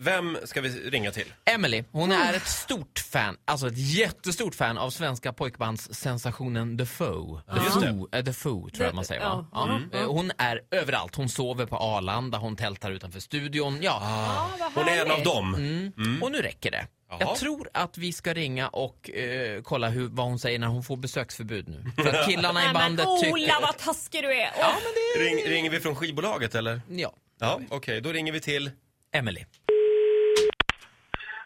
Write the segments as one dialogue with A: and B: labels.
A: Vem ska vi ringa till?
B: Emily, hon
C: Ah.
B: är ett stort fan, alltså ett jättestort fan av svenska pojkbandssensationen The Foe. The
A: Just det.
B: Foe, eh, The Foe tror jag man säger va? Ja.
C: Mm.
B: Eh, Hon är överallt, hon sover på Arlanda, hon tältar utanför studion. Ja.
A: Hon är en av dem.
B: Och nu räcker det.
A: Ah. Mm. Jaha.
B: Jag tror att vi ska ringa och eh, kolla hur, vad hon säger när hon får besöksförbud nu. För att killarna i
C: Nej, men
B: bandet tycker...
C: Ola vad taskig du är. Åh,
A: Ring, ringer vi från skivbolaget eller?
B: Ja,
A: Ja, okej. Då ringer vi till...
B: Emily.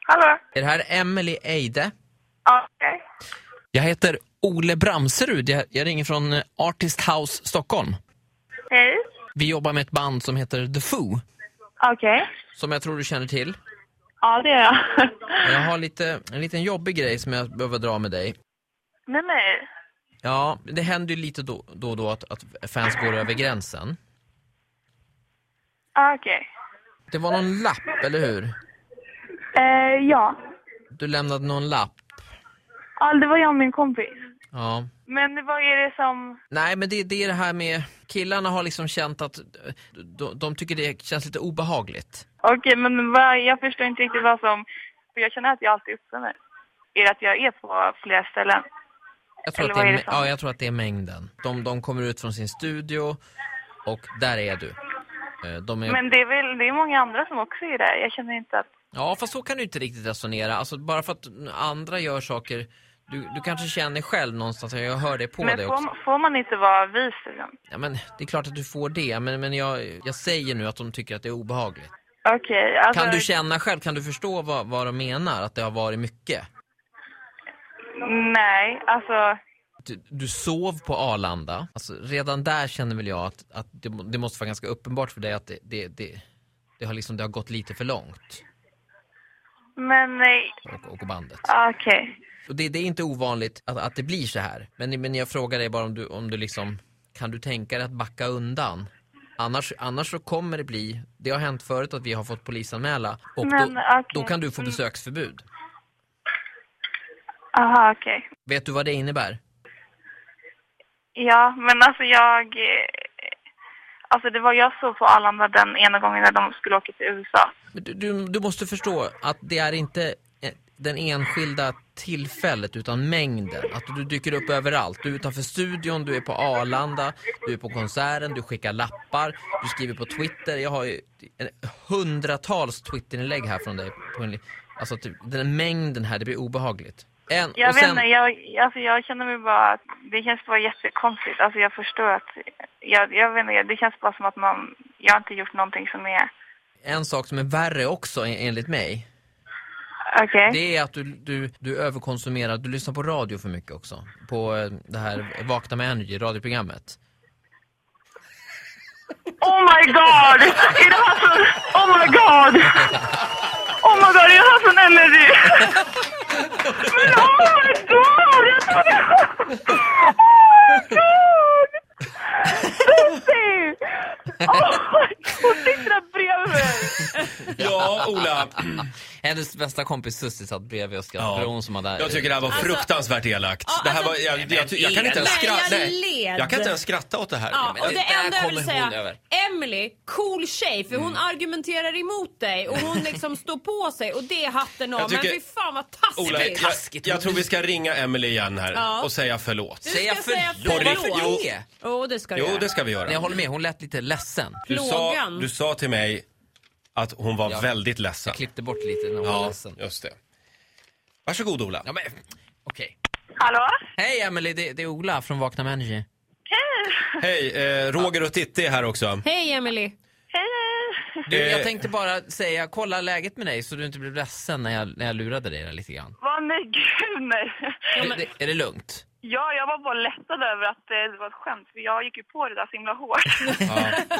D: Hallå?
B: Är det här Emily Eide?
D: Ja, okej.
B: Jag heter Ole Bramserud, jag, jag ringer från eh, Artist House Stockholm.
D: Hej.
B: Vi jobbar med ett band som heter The Foo,
D: Okej.
B: som jag tror du känner till.
D: Ja, det gör jag.
B: Jag har lite, en liten jobbig grej som jag behöver dra med dig.
D: Nej, nej.
B: Ja, det händer ju lite då då, och då att, att fans går över gränsen.
D: Ja, Ah, okej.
B: Det var någon lapp, eller hur?
D: Eh, ja.
B: Du lämnade någon lapp.
D: Ja, det var jag och min kompis.
B: Ja.
D: Men vad är det som...
B: Nej, men det, det är det här med... Killarna har liksom känt att... De, de tycker det känns lite obehagligt.
D: Okej, men vad, jag förstår inte riktigt vad som... För jag känner att jag alltid uppför mig. Är det att jag är på flera ställen?
B: Jag tror,
D: Eller
B: att det
D: vad
B: är,
D: är det
B: mä-
D: som-
B: ja, jag tror att det är mängden. De, de kommer ut från sin studio och där är du. Eh, De är
D: Men det är väl det är många andra som också är där. Jag känner inte att...
B: Ja, fast så kan du inte riktigt resonera. Alltså, bara för att andra gör saker... Du, du kanske känner själv någonstans, jag hör det på
D: Men
B: dig
D: får,
B: också.
D: man- får man inte vara vis? liksom?
B: Ja, men det är klart att du får det, men, men jag, jag säger nu att de tycker att det är obehagligt.
D: Okej, alltså...
B: Kan du känna själv, kan du förstå vad, vad de menar? Att det har varit mycket?
D: Nej, alltså...
B: Du, du sov på Arlanda. Alltså, redan där känner väl jag att, att det, må- det måste vara ganska uppenbart för dig att det, det, det, det, har, liksom, det har gått lite för långt.
D: Men nej.
B: Och, och bandet.
D: Okej.
B: Och det, det är inte ovanligt att, att det blir så här. Men, men jag frågar dig bara om du, om du liksom, kan du tänka dig att backa undan? Annars, annars så kommer det bli, det har hänt förut att vi har fått polisanmäla och
D: Men,
B: då,
D: okej.
B: då kan du få
D: Mm.
B: besöksförbud.
D: Aha, okej.
B: Vet du vad det innebär?
D: Ja, men alltså jag... eh, Alltså det var jag såg på Arlanda den ena gången när de skulle åka till USA.
B: Men Du, du, du måste förstå att det är inte eh, den enskilda tillfället utan mängden. Att du dyker upp överallt. Du är utanför studion, du är på Arlanda, du är på konserten, du skickar lappar, du skriver på Twitter. Jag har ju en, hundratals Twitterinlägg här från dig. På en, li- alltså typ, den mängden här, det blir obehagligt. En,
D: Jag
B: och
D: vet
B: sen,
D: inte, jag, alltså jag känner mig bara... att Det känns bara jättekonstigt. Alltså jag förstår att... Jag, jag vet inte, det känns bara som att man... Jag har inte gjort någonting som är...
B: en sak som är värre också en- enligt mig,
D: Okej.
B: det är att du, du, du överkonsumerar, du lyssnar på radio för mycket också. På eh, det här Vakna med Energy, radioprogrammet.
D: Oh my god! Är det här från... Oh my god! Oh my god, är det här från Energy? Men oh my god! Jag trodde... Oh my god! Susie! Oh my god, hon sitter där bredvid mig.
A: Ja, Ola.
B: Hennes bästa kompis Susie satt bredvid och skrattade.
A: Ja.
B: Det var hon som hade...
A: Jag tycker det här var fruktansvärt elakt.
C: Ja,
A: det här
C: alltså-
A: var, jag, jag, jag, jag kan inte ens
C: Nej,
A: skratta.
C: jag
A: nej.
C: led.
A: jag kan inte ens skratta åt det här. Eh,
C: Ja, och
B: det
C: det,
B: där
C: enda jag
B: kommer
C: vill
B: hon
C: säga,
B: över.
C: Emily, cool tjej för
A: Mm.
C: hon argumenterar emot dig och hon liksom står på sig och det är hatten av.
A: Jag tycker-
C: Men fy fan vad
A: Ola, jag,
C: taskigt!
B: taskigt.
A: jag tror vi ska ringa Emily igen här
C: Ja.
A: och säga förlåt.
C: Du ska säga
A: På
C: förlåt.
A: riktigt. Jo.
C: Jo det ska du
A: Jo,
C: göra.
A: det ska vi
B: Men jag
A: göra.
B: håller med, hon lät lite ledsen.
A: Du sa,
C: Plågan.
A: du sa till mig att hon var
B: Ja.
A: väldigt ledsen.
B: Jag klippte bort lite när hon var
A: Ja,
B: ledsen.
A: just det. Varsågod Ola.
B: Ja, men okej.
D: Hallå?
B: Hej Emily, det, det är Ola från Vakna med Energy.
D: Hej!
A: Hej, eh, Roger och Titti är här också.
C: Hej Emily.
D: Hej, hej!
B: Du,
A: Eh.
B: jag tänkte bara säga, kolla läget med dig så du inte blir ledsen när jag, när jag lurade dig där lite grann.
D: Vad nej, gud nej.
B: Är det- är det lugnt?
D: Ja, jag var bara lättad över att eh, det var ett skämt för jag gick ju på det där så himla hårt.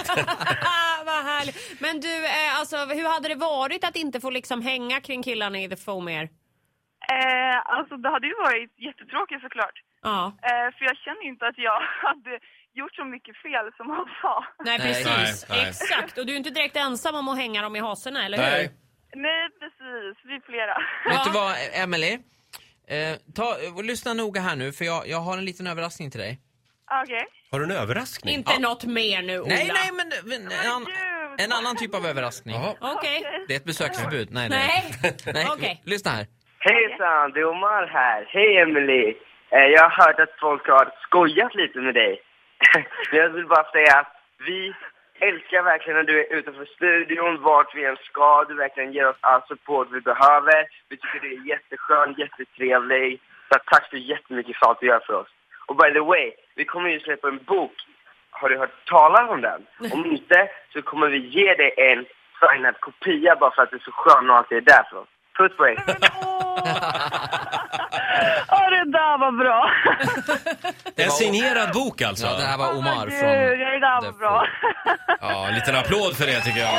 C: Ah, vad härligt. Men du, eh, alltså, hur hade det varit att inte få liksom hänga kring killarna i The Foam mer?
D: Eh, alltså det hade ju varit jättetråkigt såklart.
C: Ja,
D: Eh, för jag känner ju inte att jag hade gjort så mycket fel som han sa.
C: nej
B: Nej.
C: precis.
A: Nej, nej.
C: Exakt. Och du är inte direkt ensam om att hänga dem i hasorna, eller hur?
A: Nej.
D: Nej precis, vi är flera.
B: Vet du vad Emily? Eh, ta, och lyssna noga här nu för jag, jag har en liten överraskning till dig.
D: Okej.
A: Har du en överraskning?
C: Inte något mer nu, Ola.
B: Nej, nej men... men
D: Men
B: an-
D: gud överraskning.
B: En annan typ av överraskning.
A: Jaha.
C: Okej.
B: Det är ett besöksförbud. Nej, nej.
C: Nej.
B: nej.
C: Okej.
B: Lyssna här.
E: Hejsan, det är Omar här. Hej Emily. Eh, Jag har hört att folk har skojat lite med dig. Men jag vill bara säga att vi älskar verkligen när du är utanför studion, vart vi än ska. Du verkligen ger oss all support vi behöver. Vi tycker du är jätteskön, jättetrevlig. Så att tack så jättemycket för allt du gör för oss. Och by the way, vi kommer ju släppa en bok. Har du hört talas om den? Om inte så kommer vi ge dig en signad kopia bara för att du är så skön och alltid är där för oss. Puss på er!
D: Ja, det där var bra.
A: En signerad bok alltså.
B: Ja, det här var Omar
D: Gud,
B: från...
D: det där var
B: The
D: bra.
B: Fool.
A: Ja, en liten applåd för det tycker jag.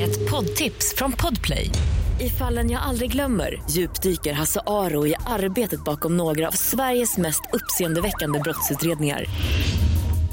F: Ett poddtips från Podplay. I fallen jag aldrig glömmer djupdyker Hasse Aro i arbetet bakom några av Sveriges mest uppseendeväckande brottsutredningar.